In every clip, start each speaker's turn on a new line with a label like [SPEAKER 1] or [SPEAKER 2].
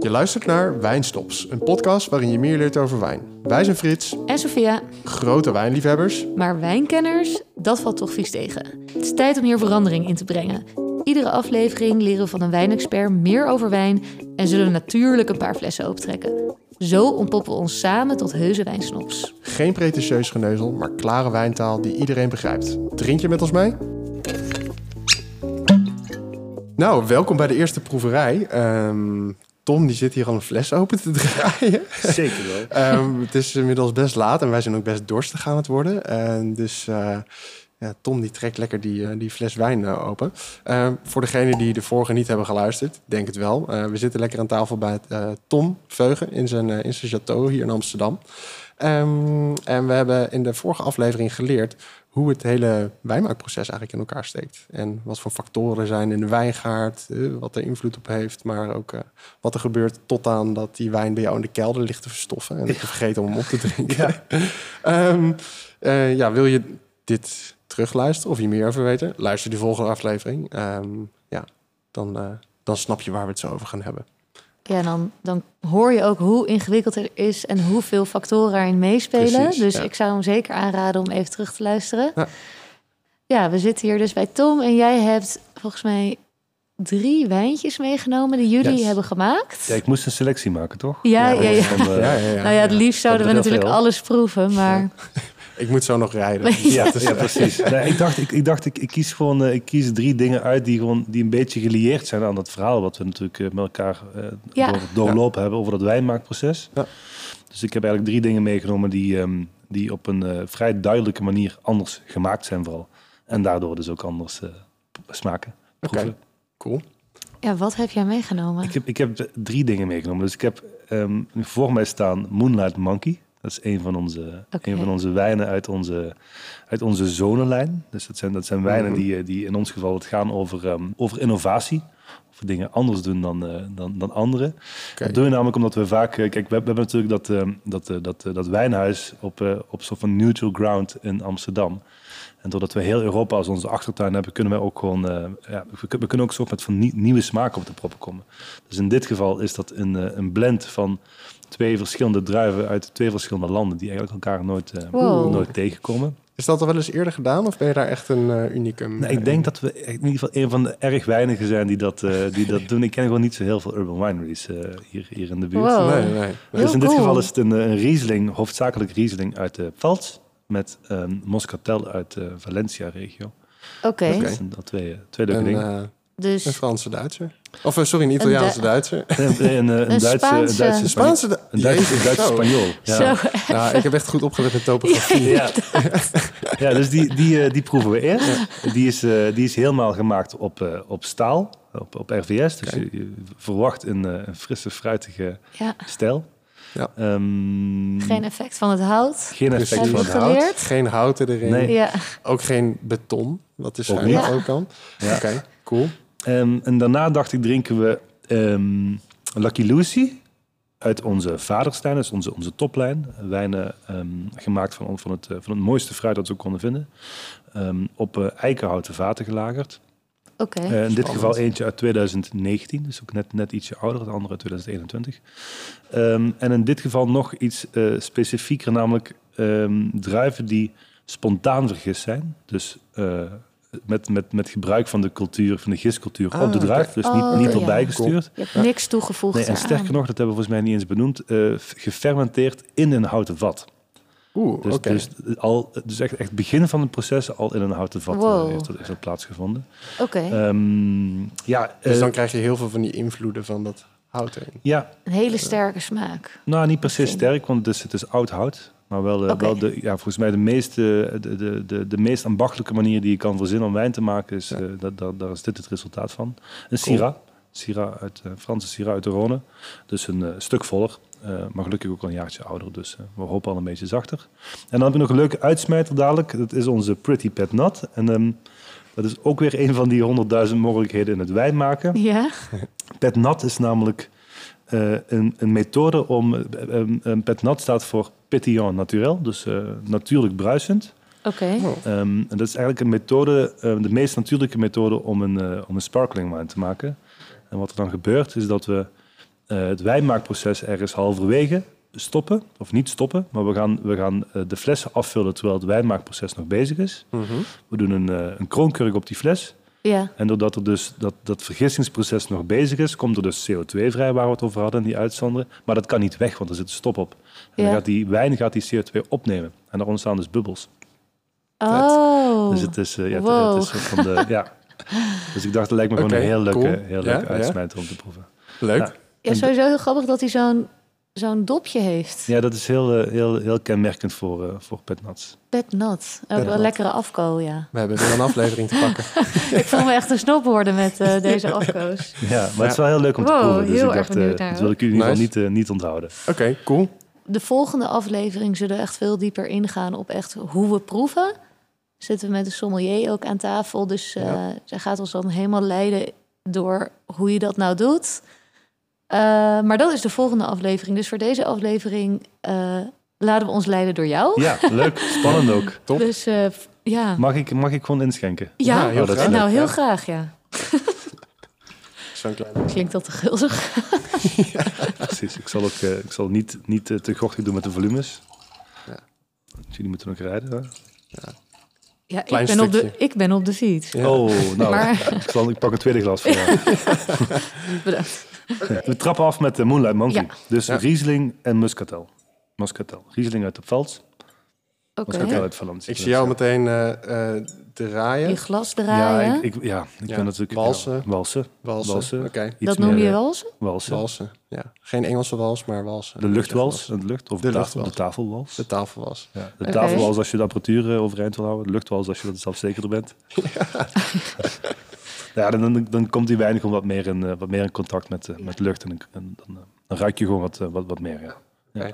[SPEAKER 1] Je luistert naar Wijnstops, een podcast waarin je meer leert over wijn. Wij zijn Frits,
[SPEAKER 2] En Sophia,
[SPEAKER 1] grote wijnliefhebbers.
[SPEAKER 2] maar wijnkenners, dat valt toch vies tegen. Het is tijd om hier verandering in te brengen. Iedere aflevering leren we van een wijnexpert meer over wijn en zullen we natuurlijk een paar flessen opentrekken. Zo ontpoppen we ons samen tot heuse wijnsnops.
[SPEAKER 1] Geen pretentieus geneuzel, maar klare wijntaal die iedereen begrijpt. Drink je met ons mee? Nou, welkom bij de eerste proeverij. Ehm, Tom die zit hier al een fles open te draaien.
[SPEAKER 3] Zeker wel.
[SPEAKER 1] Ehm, het is inmiddels best laat en wij zijn ook best dorstig aan het worden. En dus eh, ja, Tom die trekt lekker die, eh, die fles wijn eh, open. Ehm, voor degenen die de vorige niet hebben geluisterd, denk het wel. Eh, we zitten lekker aan tafel bij het, eh, Tom Veugen in zijn, eh, in zijn château hier in Amsterdam. Ehm, en we hebben in de vorige aflevering geleerd hoe het hele wijnmaakproces eigenlijk in elkaar steekt. En wat voor factoren er zijn in de wijngaard, eh, wat er invloed op heeft, maar ook eh, wat er gebeurt tot aan dat die wijn bij jou in de kelder ligt te verstoffen en dat je vergeet om hem op te drinken. Ehm, eh, ja, wil je dit terugluisteren of hier meer over weten? Luister die volgende aflevering. Ehm, ja, dan, eh, dan snap je waar we het zo over gaan hebben.
[SPEAKER 2] Ja, en dan, dan hoor je ook hoe ingewikkeld het is en hoeveel factoren erin meespelen.
[SPEAKER 1] Precies,
[SPEAKER 2] dus
[SPEAKER 1] ja.
[SPEAKER 2] ik zou hem zeker aanraden om even terug te luisteren.
[SPEAKER 1] Ja.
[SPEAKER 2] Ja. we zitten hier dus bij Tom en jij hebt volgens mij drie wijntjes meegenomen die jullie
[SPEAKER 1] Yes.
[SPEAKER 2] hebben gemaakt.
[SPEAKER 3] Ja, ik moest een selectie maken, toch?
[SPEAKER 2] Ja, ja, ja.
[SPEAKER 3] En, eh,
[SPEAKER 1] Ja, ja, ja.
[SPEAKER 2] nou ja, het liefst zouden we
[SPEAKER 3] Dat is heel
[SPEAKER 2] natuurlijk
[SPEAKER 3] veel.
[SPEAKER 2] alles proeven, maar
[SPEAKER 1] Ik moet zo nog rijden. Dus, eh,
[SPEAKER 3] ja, ja, precies. Nee, ik dacht, ik, ik, dacht ik, ik kies gewoon eh, ik kies drie dingen uit die, gewoon, die een beetje gelieerd zijn aan dat verhaal. Wat we natuurlijk eh, met elkaar eh,
[SPEAKER 2] Ja.
[SPEAKER 3] door, doorlopen hebben over dat wijnmaakproces.
[SPEAKER 1] Ja.
[SPEAKER 3] Dus ik heb eigenlijk drie dingen meegenomen die, ehm, die op een eh, vrij duidelijke manier anders gemaakt zijn vooral. En daardoor dus ook anders eh, smaken.
[SPEAKER 1] Oké,
[SPEAKER 3] proeven.
[SPEAKER 1] cool.
[SPEAKER 2] ja, wat heb jij meegenomen?
[SPEAKER 3] Ik, heb, ik heb drie dingen meegenomen. Dus ik heb ehm, voor mij staan Moonlight Monkey. Dat is een van onze,
[SPEAKER 2] Oké.
[SPEAKER 3] een van onze wijnen uit onze, uit onze zonenlijn. Dus dat zijn, dat zijn wijnen
[SPEAKER 1] Mhm.
[SPEAKER 3] die, eh, die in ons geval het gaan over, ehm, over innovatie. Over dingen anders doen dan, eh, dan, dan anderen.
[SPEAKER 1] Oké.
[SPEAKER 3] Dat doen we namelijk omdat we vaak... eh, Kijk, we, we hebben natuurlijk dat, ehm, dat, eh, dat, eh, dat wijnhuis op, eh, op soort van neutral ground in Amsterdam. En doordat we heel Europa als onze achtertuin hebben, kunnen we ook gewoon... eh, ja, we, kun- we kunnen ook soort met van nie- nieuwe smaken op de proppen komen. Dus in dit geval is dat een, eh, een blend van twee verschillende druiven uit twee verschillende landen... die eigenlijk elkaar nooit, eh,
[SPEAKER 2] Wow.
[SPEAKER 3] nooit tegenkomen.
[SPEAKER 1] Is dat al wel eens eerder gedaan of ben je daar echt een eh, unicum?
[SPEAKER 3] Nou, ik denk dat we in ieder geval een van de erg weinigen zijn die dat, eh, die dat doen. Ik ken gewoon niet zo heel veel urban wineries eh, hier, hier in de buurt.
[SPEAKER 2] Wow.
[SPEAKER 1] Nee, nee.
[SPEAKER 2] Heel
[SPEAKER 3] Dus in dit
[SPEAKER 2] cool.
[SPEAKER 3] geval is het een, eh, een Riesling, hoofdzakelijk Riesling uit de Pfalz. Met een Moscatel uit de Valencia-regio.
[SPEAKER 2] Oké,
[SPEAKER 1] Oké.
[SPEAKER 3] Dat zijn dat twee, twee leuke
[SPEAKER 1] Een,
[SPEAKER 3] dingen.
[SPEAKER 1] eh,
[SPEAKER 2] dus
[SPEAKER 1] een Franse Duitser. Of eh, sorry, een Italiaanse
[SPEAKER 2] Du-
[SPEAKER 1] Duitser.
[SPEAKER 3] En een, eh, een
[SPEAKER 2] Een
[SPEAKER 3] Duitse, een
[SPEAKER 2] Spaanse.
[SPEAKER 3] Duitse
[SPEAKER 1] Een
[SPEAKER 3] Spanjool.
[SPEAKER 1] Spaanse Du-
[SPEAKER 3] Een Duitse,
[SPEAKER 1] Jezus,
[SPEAKER 3] een Duitse
[SPEAKER 1] zo.
[SPEAKER 3] Spanjool. Ja.
[SPEAKER 2] zo.
[SPEAKER 1] Nou, ik heb echt goed opgelet met topografie.
[SPEAKER 3] Ja. ja, dus die, die, eh, die proeven we eerst. Die is, eh, die is helemaal gemaakt op, eh, op staal, op, op RVS. Dus
[SPEAKER 1] Oké.
[SPEAKER 3] je, je verwacht een, eh, een frisse, fruitige
[SPEAKER 2] Ja,
[SPEAKER 3] stijl.
[SPEAKER 1] Ja.
[SPEAKER 3] Ehm,
[SPEAKER 2] geen effect van het hout.
[SPEAKER 3] geen
[SPEAKER 1] Precies.
[SPEAKER 3] effect
[SPEAKER 2] Hebben
[SPEAKER 3] van
[SPEAKER 2] we
[SPEAKER 3] het hout.
[SPEAKER 2] geleerd?
[SPEAKER 1] Geen houten erin.
[SPEAKER 3] Nee.
[SPEAKER 2] Ja,
[SPEAKER 1] Ook geen beton, wat dus
[SPEAKER 3] Ook
[SPEAKER 1] eigenlijk
[SPEAKER 2] niet.
[SPEAKER 1] ook kan.
[SPEAKER 3] Ja.
[SPEAKER 1] Oké, cool.
[SPEAKER 3] Ehm, en daarna dacht ik, drinken we ehm, Lucky Lucy uit onze vaderslijn, dat is onze, onze toplijn. Wijnen ehm, gemaakt van, van, het, eh, van het mooiste fruit dat we konden vinden. Ehm, op eh, eikenhouten vaten gelagerd.
[SPEAKER 2] oké.
[SPEAKER 3] Eh, in dit
[SPEAKER 1] Spannend.
[SPEAKER 3] geval eentje uit 2019, dus ook net, net ietsje ouder, het andere uit 2021. Ehm, en in dit geval nog iets eh, specifieker, namelijk ehm, druiven die spontaan vergist zijn. Dus eh, met, met, met gebruik van de cultuur, van de gistcultuur
[SPEAKER 1] Ah,
[SPEAKER 3] op de druif,
[SPEAKER 1] oké.
[SPEAKER 3] dus niet,
[SPEAKER 2] Oh,
[SPEAKER 3] niet
[SPEAKER 2] ja.
[SPEAKER 3] erbij gestuurd.
[SPEAKER 2] Je hebt niks toegevoegd
[SPEAKER 3] Nee, en
[SPEAKER 2] eraan.
[SPEAKER 3] sterker nog, dat hebben we volgens mij niet eens benoemd, eh, gefermenteerd in een houten vat.
[SPEAKER 1] Oeh,
[SPEAKER 3] Dus,
[SPEAKER 1] oké.
[SPEAKER 3] dus, al, dus echt, echt begin van het proces al in een houten vat eh,
[SPEAKER 2] Wow.
[SPEAKER 3] heeft, dat, heeft dat plaatsgevonden.
[SPEAKER 2] Oké,
[SPEAKER 3] Ehm, ja,
[SPEAKER 1] Dus
[SPEAKER 3] eh,
[SPEAKER 1] dan krijg je heel veel van die invloeden van dat hout erin.
[SPEAKER 3] ja,
[SPEAKER 2] een hele sterke smaak.
[SPEAKER 3] nou niet precies
[SPEAKER 2] Oké.
[SPEAKER 3] sterk, want dus het is, het is oud hout. Maar wel, eh,
[SPEAKER 2] Oké.
[SPEAKER 3] wel de, ja, volgens mij de, meeste, de, de, de, de meest ambachtelijke manier die je kan verzinnen om wijn te maken, is,
[SPEAKER 1] Ja.
[SPEAKER 3] eh, dat, dat, daar is dit het resultaat van. Een Syrah, Syrah uit, eh, Franse Syrah uit de Rhône. Dus een eh, stuk voller, eh, maar gelukkig ook al een jaartje ouder. Dus eh, we hopen al een beetje zachter. En dan heb je nog een leuke uitsmijter dadelijk. Dat is onze Pretty Pet Nat. En ehm, dat is ook weer een van die honderdduizend mogelijkheden in het wijn maken.
[SPEAKER 2] Ja,
[SPEAKER 3] Pet nat is namelijk eh, een, een methode om... eh, eh, eh, pet nat staat voor pétillant naturel, dus eh, natuurlijk bruisend.
[SPEAKER 2] oké.
[SPEAKER 3] Ehm, en dat is eigenlijk een methode, eh, de meest natuurlijke methode om een, eh, om een sparkling wine te maken. En wat er dan gebeurt is dat we eh, het wijnmaakproces ergens halverwege stoppen. Of niet stoppen, maar we gaan, we gaan eh, de flessen afvullen terwijl het wijnmaakproces nog bezig is.
[SPEAKER 1] Mhm.
[SPEAKER 3] We doen een, eh, een kroonkurk op die fles.
[SPEAKER 2] Ja,
[SPEAKER 3] En doordat er dus dat, dat vergissingsproces nog bezig is, komt er dus CO2 vrij, waar we het over hadden, en die uitzonderen. Maar dat kan niet weg, want er zit een stop op. En
[SPEAKER 2] Ja.
[SPEAKER 3] dan gaat die wijn gaat die CO2 opnemen. En daar ontstaan dus bubbels.
[SPEAKER 2] oh.
[SPEAKER 3] Dus het is, eh, ja, het-
[SPEAKER 2] Wow.
[SPEAKER 3] het is een soort van de, ja. Dus ik dacht, dat lijkt me gewoon
[SPEAKER 1] Oké,
[SPEAKER 3] een heel leuke,
[SPEAKER 1] cool.
[SPEAKER 3] heel
[SPEAKER 1] Ja,
[SPEAKER 3] leuke
[SPEAKER 1] ja.
[SPEAKER 3] uitsmijter om te proeven.
[SPEAKER 1] Leuk.
[SPEAKER 3] Ja.
[SPEAKER 2] ja, sowieso heel grappig dat hij zo'n zo'n dopje heeft.
[SPEAKER 3] Ja, dat is heel, eh, heel, heel kenmerkend voor, eh, voor Petnats.
[SPEAKER 2] Pet nat. Ook wel
[SPEAKER 1] nat.
[SPEAKER 2] lekkere afko, ja.
[SPEAKER 1] We hebben weer een aflevering te pakken.
[SPEAKER 2] Ik voel me echt een snob worden met eh, deze afko's.
[SPEAKER 3] Ja, maar het is wel heel leuk om
[SPEAKER 2] Wow,
[SPEAKER 3] te proeven. Dus
[SPEAKER 2] heel
[SPEAKER 3] ik
[SPEAKER 2] erg
[SPEAKER 3] dacht, eh,
[SPEAKER 2] benieuwd naar,
[SPEAKER 3] dat wil ik jullie in ieder geval
[SPEAKER 1] Nice.
[SPEAKER 3] niet, eh, niet onthouden.
[SPEAKER 1] Oké, cool.
[SPEAKER 2] De volgende aflevering zullen we echt veel dieper ingaan op echt hoe we proeven. Zitten we met de sommelier ook aan tafel. Dus eh,
[SPEAKER 1] Ja.
[SPEAKER 2] zij gaat ons dan helemaal leiden door hoe je dat nou doet. Eh, maar dat is de volgende aflevering. Dus voor deze aflevering eh, laten we ons leiden door jou.
[SPEAKER 3] Ja, leuk. Spannend ook.
[SPEAKER 1] top.
[SPEAKER 2] Dus eh, f- ja.
[SPEAKER 3] Mag ik, mag ik gewoon inschenken?
[SPEAKER 2] ja,
[SPEAKER 1] Ja, heel
[SPEAKER 2] Oh, dat is
[SPEAKER 1] graag.
[SPEAKER 2] nou heel
[SPEAKER 1] Ja.
[SPEAKER 2] graag, ja.
[SPEAKER 1] Zo'n klein.
[SPEAKER 2] Klinkt dat te gulzig?
[SPEAKER 3] Precies. Ik zal, ook, eh, ik zal niet, niet eh, te gochtig doen met de volumes.
[SPEAKER 1] Ja.
[SPEAKER 3] Want Jullie moeten nog rijden. Hè?
[SPEAKER 2] Ja, ik
[SPEAKER 1] Klein
[SPEAKER 2] ben, op de,
[SPEAKER 1] stukje.
[SPEAKER 2] ik ben op de fiets.
[SPEAKER 1] Ja.
[SPEAKER 3] Oh, nou.
[SPEAKER 2] Maar-
[SPEAKER 3] Ik, zal, ik pak een tweede glas voor jou.
[SPEAKER 2] Bedankt.
[SPEAKER 3] We trappen af met de Moonlight Monkey.
[SPEAKER 2] Ja.
[SPEAKER 3] Dus
[SPEAKER 1] Ja.
[SPEAKER 3] Riesling en Muscatel. Muscatel. Riesling uit de Pfalz.
[SPEAKER 2] Oké.
[SPEAKER 3] Muscatel uit Valencia.
[SPEAKER 1] Ik zie jou meteen eh, eh, draaien.
[SPEAKER 2] Je glas
[SPEAKER 3] Ja,
[SPEAKER 2] draaien.
[SPEAKER 3] ik, ik, ja, ik
[SPEAKER 1] Ja.
[SPEAKER 3] ben natuurlijk...
[SPEAKER 1] Walsen.
[SPEAKER 3] ja, walsen.
[SPEAKER 1] Walsen.
[SPEAKER 3] Walsen.
[SPEAKER 1] Oké.
[SPEAKER 3] Iets
[SPEAKER 2] dat noem
[SPEAKER 3] meer,
[SPEAKER 2] je
[SPEAKER 3] eh,
[SPEAKER 2] walsen?
[SPEAKER 3] Walsen.
[SPEAKER 1] Walsen. Ja. Geen Engelse wals, maar walsen.
[SPEAKER 3] De luchtwals. en De lucht, of
[SPEAKER 1] De
[SPEAKER 3] de, tafel,
[SPEAKER 1] luchtwals.
[SPEAKER 3] de tafelwals.
[SPEAKER 1] De tafelwals.
[SPEAKER 3] Ja, de
[SPEAKER 2] Oké.
[SPEAKER 3] tafelwals als je de apparatuur eh, overeind wil houden. De luchtwals als je dat zelfzekerder bent. Ja, dan, dan, dan komt die wijn gewoon wat meer in, eh, wat meer in contact met, eh, met lucht. En, dan- en dan, eh, dan ruik je gewoon wat, eh, wat, wat meer. Ja,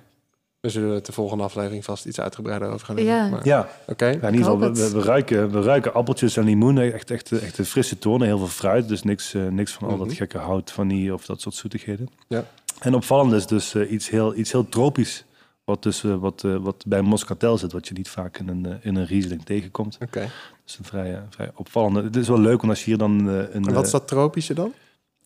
[SPEAKER 1] We zullen het de volgende aflevering vast iets uitgebreider over gaan doen.
[SPEAKER 2] Ja.
[SPEAKER 1] maar-
[SPEAKER 3] ja
[SPEAKER 1] Oké.
[SPEAKER 3] Ja, in ieder
[SPEAKER 2] Ik
[SPEAKER 3] geval,
[SPEAKER 2] hoop
[SPEAKER 3] we, we,
[SPEAKER 2] het.
[SPEAKER 3] we ruiken, we ruiken appeltjes en limoenen. Echt, echt, echt een frisse tonen, heel veel fruit. Dus niks, eh, niks van al
[SPEAKER 1] Mhm.
[SPEAKER 3] dat gekke hout, vanille of dat soort zoetigheden.
[SPEAKER 1] Ja.
[SPEAKER 3] En opvallend is dus eh, iets, heel, iets heel tropisch. Wat, dus, eh, wat, eh, wat bij Moscatel zit, wat je niet vaak in een, eh, in een Riesling tegenkomt.
[SPEAKER 1] Oké.
[SPEAKER 3] Dus een vrij, eh, vrij opvallende. Het is wel leuk, want als je hier dan... eh, een,
[SPEAKER 1] En wat
[SPEAKER 3] eh,
[SPEAKER 1] is dat tropische dan?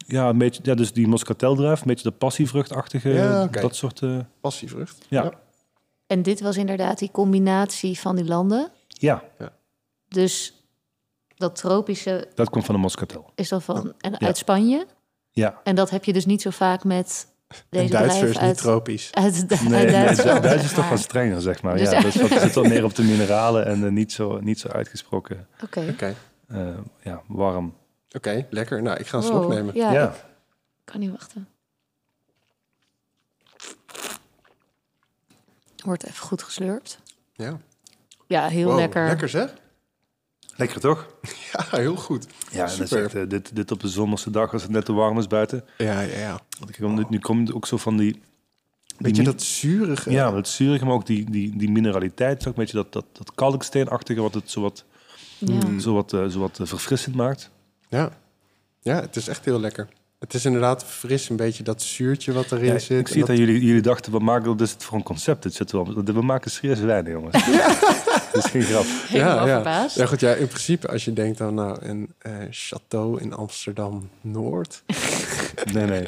[SPEAKER 3] Ja, een beetje, ja, dus die Moscateldruif, een beetje de passievruchtachtige,
[SPEAKER 1] Ja, oké.
[SPEAKER 3] dat soort... eh,
[SPEAKER 1] Passievrucht.
[SPEAKER 3] ja.
[SPEAKER 1] Ja.
[SPEAKER 3] Ja.
[SPEAKER 2] En dit was inderdaad die combinatie van die landen. Dus dat tropische
[SPEAKER 3] dat komt van de Moscatel.
[SPEAKER 2] is dan van en
[SPEAKER 3] Oh, Ja.
[SPEAKER 2] uit Spanje.
[SPEAKER 3] Ja.
[SPEAKER 2] En dat heb je dus niet zo vaak met
[SPEAKER 1] En
[SPEAKER 2] deze
[SPEAKER 1] Duitser
[SPEAKER 2] bedrijven
[SPEAKER 1] is
[SPEAKER 2] uit,
[SPEAKER 1] niet tropisch.
[SPEAKER 2] uit, Du-
[SPEAKER 3] Nee,
[SPEAKER 2] uit
[SPEAKER 3] nee,
[SPEAKER 2] Duitsland.
[SPEAKER 3] Duits is
[SPEAKER 2] zeg
[SPEAKER 3] toch
[SPEAKER 2] maar.
[SPEAKER 3] wat strenger, zeg maar.
[SPEAKER 2] Dus
[SPEAKER 3] ja,
[SPEAKER 2] ja.
[SPEAKER 3] dat zat- zit wel meer op de mineralen en eh, niet, zo, niet zo uitgesproken
[SPEAKER 2] Oké.
[SPEAKER 1] Oké.
[SPEAKER 3] eh, ja, warm.
[SPEAKER 1] Oké, lekker. Nou, ik ga een
[SPEAKER 2] Wow.
[SPEAKER 1] slok nemen.
[SPEAKER 2] Oh, Ja,
[SPEAKER 3] Ja,
[SPEAKER 2] ik kan niet wachten. Wordt even goed geslurpt.
[SPEAKER 1] Ja.
[SPEAKER 2] Ja, heel
[SPEAKER 1] Wow,
[SPEAKER 2] lekker.
[SPEAKER 1] Lekker zeg.
[SPEAKER 3] lekker toch?
[SPEAKER 1] Ja, heel goed.
[SPEAKER 3] Ja, en dat is
[SPEAKER 1] super.
[SPEAKER 3] echt, eh, dit, dit op de zomerse dag als het net te warm is buiten.
[SPEAKER 1] Ja, ja, ja.
[SPEAKER 3] Want ik, nu, nu komt ook zo van die...
[SPEAKER 1] Weet je
[SPEAKER 3] mi-
[SPEAKER 1] dat eh, zurige?
[SPEAKER 3] Ja, dat zuurige, maar ook die, die, die mineraliteit. Toch? Een beetje dat, dat, dat kalksteenachtige wat het zo wat,
[SPEAKER 2] Ja.
[SPEAKER 3] zo wat, eh, zo wat eh, verfrissend maakt.
[SPEAKER 1] Ja. Ja, het is echt heel lekker. Het is inderdaad fris, een beetje dat zuurtje wat erin
[SPEAKER 3] Ja, ik
[SPEAKER 1] zit.
[SPEAKER 3] zie
[SPEAKER 1] en
[SPEAKER 3] het aan jullie, jullie dachten, wat maken we dit is het voor een concept? Dit zit wel, we maken serieus wijn, jongens. Dat is geen grap.
[SPEAKER 2] Helemaal
[SPEAKER 1] ja.
[SPEAKER 2] verbaasd.
[SPEAKER 1] Ja, goed, ja, in principe als je denkt aan nou, een eh, château in Amsterdam-Noord.
[SPEAKER 3] Nee, nee.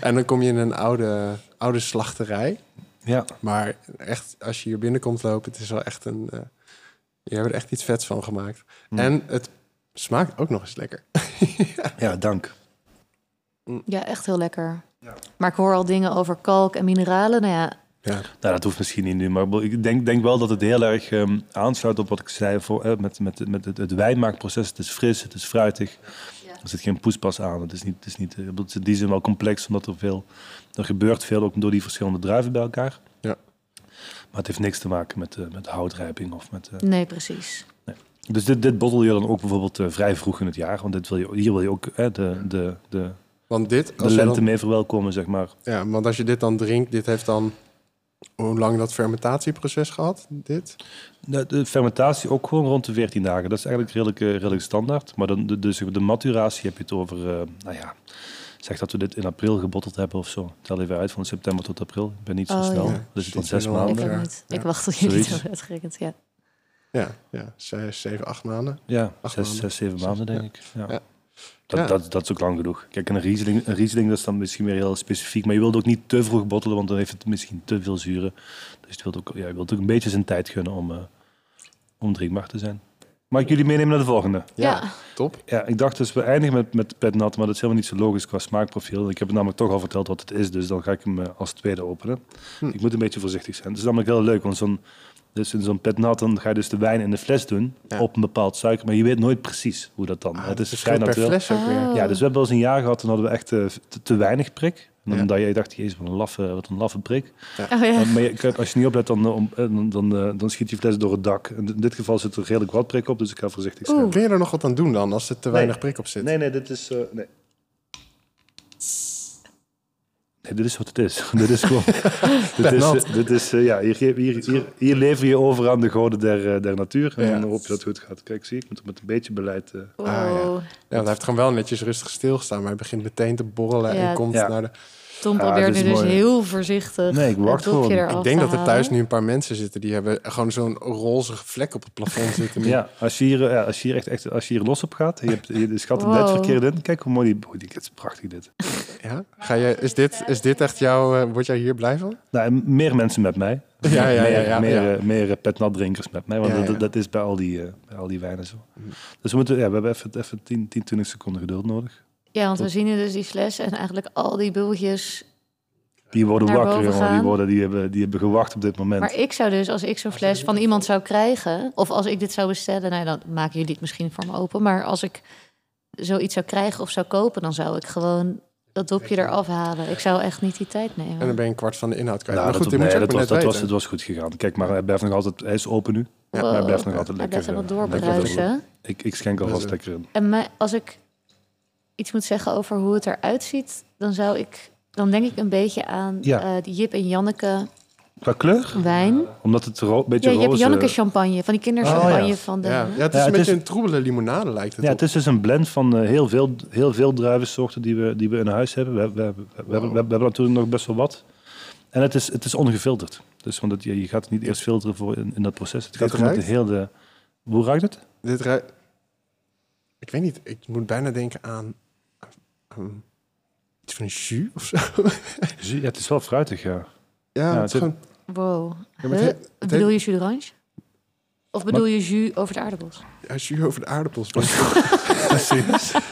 [SPEAKER 1] en dan kom je in een oude, oude slachterij.
[SPEAKER 3] Ja.
[SPEAKER 1] Maar echt, als je hier binnenkomt lopen, het is wel echt een... eh je hebt er echt iets vets van gemaakt.
[SPEAKER 3] Hmm.
[SPEAKER 1] En het smaakt ook nog eens lekker.
[SPEAKER 3] Ja, dank.
[SPEAKER 2] Ja, echt heel lekker. Maar ik hoor al dingen over kalk en mineralen. Nou ja,
[SPEAKER 1] Ja,
[SPEAKER 3] Nou, dat hoeft misschien niet nu, maar ik denk, denk wel dat het heel erg ehm, aansluit op wat ik zei voor, eh, met, met, met het, het wijnmaakproces. Het is fris, het is fruitig, er zit geen poespas aan. Het is, niet, het, is niet, eh, het is in die zin wel complex, omdat er veel, er gebeurt veel ook door die verschillende druiven bij elkaar.
[SPEAKER 1] Ja.
[SPEAKER 3] Maar het heeft niks te maken met, eh, met houtrijping of met... eh,
[SPEAKER 2] nee, precies.
[SPEAKER 3] Dus dit, dit bottel je dan ook bijvoorbeeld eh, vrij vroeg in het jaar, want dit wil je, hier wil je ook eh, de, de, de,
[SPEAKER 1] want dit...
[SPEAKER 3] de
[SPEAKER 1] Als je
[SPEAKER 3] lente
[SPEAKER 1] dan,
[SPEAKER 3] mee verwelkomen, zeg maar.
[SPEAKER 1] ja, want als je dit dan drinkt, dit heeft dan... Hoe lang dat fermentatieproces gehad, dit?
[SPEAKER 3] De, de fermentatie ook gewoon rond de 14 dagen. Dat is eigenlijk redelijk, eh, redelijk standaard. Maar dan de, dus de maturatie heb je het over, eh, nou ja, zeg dat we dit in april gebotteld hebben of zo. Tel even uit van september tot april. Ik ben niet zo
[SPEAKER 2] Oh,
[SPEAKER 3] snel.
[SPEAKER 2] ja.
[SPEAKER 3] Dus het is dan
[SPEAKER 1] Precies,
[SPEAKER 3] zes
[SPEAKER 1] ik
[SPEAKER 2] Ik
[SPEAKER 1] Ander,
[SPEAKER 3] maanden.
[SPEAKER 2] ook niet.
[SPEAKER 1] ja.
[SPEAKER 2] Ik wacht tot jullie het
[SPEAKER 3] Zoiets.
[SPEAKER 2] hebben uitgerekend. Ja.
[SPEAKER 1] Ja, ja, zes, zeven, acht maanden.
[SPEAKER 3] Ja,
[SPEAKER 1] Acht
[SPEAKER 3] zes,
[SPEAKER 1] maanden.
[SPEAKER 3] zes, zeven
[SPEAKER 1] Zes,
[SPEAKER 3] maanden denk
[SPEAKER 1] ja.
[SPEAKER 3] ik. Ja.
[SPEAKER 1] Ja.
[SPEAKER 3] Dat,
[SPEAKER 1] Ja.
[SPEAKER 3] dat, dat is ook lang genoeg. Kijk, een riesling, een riesling dat is dan misschien weer heel specifiek. Maar je wilt ook niet te vroeg bottelen, want dan heeft het misschien te veel zuren. Dus je wilt ook, ja, je wilt ook een beetje zijn tijd gunnen om, eh om drinkbaar te zijn. Mag ik jullie meenemen naar de volgende?
[SPEAKER 1] Ja,
[SPEAKER 2] Ja.
[SPEAKER 1] top.
[SPEAKER 3] Ja, ik dacht dus we eindigen met, met pet nat, maar dat is helemaal niet zo logisch qua smaakprofiel. Ik heb het namelijk toch al verteld wat het is, dus dan ga ik hem eh, als tweede openen.
[SPEAKER 1] Hm.
[SPEAKER 3] Ik moet een beetje voorzichtig zijn. Het is namelijk heel leuk, want zo'n, dus in zo'n pet nat dan ga je dus de wijn in de fles doen
[SPEAKER 1] Ja.
[SPEAKER 3] op een bepaald suiker, maar je weet nooit precies hoe dat dan.
[SPEAKER 1] Ah,
[SPEAKER 3] het
[SPEAKER 1] het
[SPEAKER 3] is
[SPEAKER 1] verschilt per
[SPEAKER 3] natuurlijk.
[SPEAKER 1] fles ook weer.
[SPEAKER 2] Oh.
[SPEAKER 3] Ja, dus we hebben wel eens een jaar gehad, toen hadden we echt eh, te, te weinig prik. En
[SPEAKER 1] Ja.
[SPEAKER 3] Omdat jij dacht, jezus, wat een laffe, wat een laffe prik.
[SPEAKER 2] Oh, ja.
[SPEAKER 3] Maar je- kijk, als je niet oplet, dan, eh, om- eh, dan, dan, eh, dan schiet je fles door het dak. En in dit geval zit er redelijk wat prik op, dus ik ga voorzichtig zijn.
[SPEAKER 2] Oeh.
[SPEAKER 1] Kun je er nog wat aan doen dan, als er te weinig
[SPEAKER 3] Nee.
[SPEAKER 1] prik op zit?
[SPEAKER 3] Nee, nee, dit is. eh, nee. nee, dit is wat het is. dit is gewoon. dit is,
[SPEAKER 1] nat.
[SPEAKER 3] eh, dit is eh, ja, hier, hier, hier, hier lever je over aan de goden der, eh, der natuur. En
[SPEAKER 1] Ja.
[SPEAKER 3] dan hoop je dat het goed gaat. Kijk, zie ik, moet er met een beetje beleid. eh,
[SPEAKER 2] Wow.
[SPEAKER 1] ja. Ja, want hij heeft gewoon wel netjes rustig stilgestaan, maar hij begint meteen te borrelen
[SPEAKER 2] Ja.
[SPEAKER 1] en komt
[SPEAKER 3] Ja.
[SPEAKER 1] naar de...
[SPEAKER 2] Tom
[SPEAKER 3] Ja,
[SPEAKER 2] probeert
[SPEAKER 3] dit
[SPEAKER 2] nu
[SPEAKER 3] is
[SPEAKER 2] dus
[SPEAKER 3] mooi.
[SPEAKER 2] heel voorzichtig
[SPEAKER 3] Nee, ik
[SPEAKER 2] het
[SPEAKER 3] wacht
[SPEAKER 2] dopje
[SPEAKER 3] gewoon.
[SPEAKER 2] eraf
[SPEAKER 1] Ik denk
[SPEAKER 2] te
[SPEAKER 1] dat er thuis
[SPEAKER 2] halen.
[SPEAKER 1] nu een paar mensen zitten die hebben gewoon zo'n roze vlek op het plafond zitten.
[SPEAKER 3] Ja, als je hier, eh, ja, als je hier echt, echt als je hier los op gaat, je, hebt, je schat het net
[SPEAKER 2] Wow.
[SPEAKER 3] verkeerd in. Kijk hoe mooi die, oh, die dit is prachtig dit.
[SPEAKER 1] Ja? Ga je, is, dit, is dit echt jouw... eh, word jij hier blij van?
[SPEAKER 3] Nou, en meer mensen met mij.
[SPEAKER 1] Ja, ja, ja,
[SPEAKER 3] meer,
[SPEAKER 1] ja,
[SPEAKER 3] meer,
[SPEAKER 1] ja.
[SPEAKER 3] eh, meer eh, petnatdrinkers met mij, want
[SPEAKER 1] Ja,
[SPEAKER 3] dat-
[SPEAKER 1] ja. Mm.
[SPEAKER 3] Dat, dat is bij al die, eh, bij al die wijnen zo. Dus we, moeten, ja, we hebben even, even 10, 10, 20 seconden geduld nodig.
[SPEAKER 2] Ja, want we zien hier dus die fles en eigenlijk al die bubbeltjes.
[SPEAKER 3] Die worden
[SPEAKER 2] Naar
[SPEAKER 3] wakker,
[SPEAKER 2] boven
[SPEAKER 3] jongen. Die,
[SPEAKER 2] gaan.
[SPEAKER 3] worden, die, hebben, die hebben gewacht op dit moment.
[SPEAKER 2] Maar ik zou dus, als ik zo'n fles van iemand zou krijgen, of als ik dit zou bestellen, nou ja, dan maken jullie het misschien voor me open. Maar als ik zoiets zou krijgen of zou kopen, dan zou ik gewoon dat dopje eraf halen. Ik zou echt niet die tijd
[SPEAKER 1] En dan
[SPEAKER 2] nemen.
[SPEAKER 1] ben je een kwart van de inhoud kwijt.
[SPEAKER 3] Nou,
[SPEAKER 1] maar goed, dit
[SPEAKER 3] dat,
[SPEAKER 1] moet
[SPEAKER 3] nee,
[SPEAKER 1] je ook
[SPEAKER 3] dat,
[SPEAKER 1] maar
[SPEAKER 3] was,
[SPEAKER 1] net
[SPEAKER 3] dat, was,
[SPEAKER 1] weten.
[SPEAKER 3] dat was goed gegaan. Kijk, maar hij blijft nog altijd, hij is open nu.
[SPEAKER 1] Ja,
[SPEAKER 3] Maar hij
[SPEAKER 2] Wow.
[SPEAKER 3] blijft nog altijd
[SPEAKER 2] Hij
[SPEAKER 3] lekker.
[SPEAKER 2] blijft helemaal
[SPEAKER 3] eh, lekker
[SPEAKER 2] doorbruisen.
[SPEAKER 3] lekker. Ik, ik schenk alvast lekker in.
[SPEAKER 2] En mij, als ik iets moet zeggen over hoe het eruit ziet, dan zou ik, dan denk ik een beetje aan
[SPEAKER 3] Ja.
[SPEAKER 2] eh, die Jip en Janneke
[SPEAKER 3] Qua kleur?
[SPEAKER 2] wijn.
[SPEAKER 3] Omdat het ro- een beetje
[SPEAKER 2] Ja, je hebt
[SPEAKER 3] roze...
[SPEAKER 2] Janneke champagne, van die kinderchampagne
[SPEAKER 3] Oh, ja.
[SPEAKER 2] van de.
[SPEAKER 1] Ja, ja, het is
[SPEAKER 3] Ja,
[SPEAKER 1] een
[SPEAKER 3] het
[SPEAKER 1] beetje
[SPEAKER 3] is-
[SPEAKER 1] een troebele limonade lijkt het
[SPEAKER 3] Ja,
[SPEAKER 1] op.
[SPEAKER 3] het is dus een blend van eh, heel, veel, heel veel druivensoorten die we, die we in huis hebben. We, we, we, we, hebben, we hebben natuurlijk nog best wel wat. En het is, het is ongefilterd. Dus want het, je, je gaat het niet eerst filteren voor in, in dat proces. Het gaat
[SPEAKER 1] Dit
[SPEAKER 3] gewoon met de
[SPEAKER 1] ruikt?
[SPEAKER 3] hele... Hoe ruikt het?
[SPEAKER 1] Dit ruikt... Ik weet niet, ik moet bijna denken aan... aan iets van een jus of zo.
[SPEAKER 3] Ja, het is wel fruitig, ja.
[SPEAKER 1] Ja,
[SPEAKER 3] Ja,
[SPEAKER 1] het is
[SPEAKER 3] dit-
[SPEAKER 1] gewoon...
[SPEAKER 2] Wow.
[SPEAKER 1] Ja, maar het
[SPEAKER 2] Huh?
[SPEAKER 1] heet- het
[SPEAKER 2] bedoel je jus d'orange? Of bedoel je jus over de aardappels?
[SPEAKER 1] Ja, jus over de aardappels.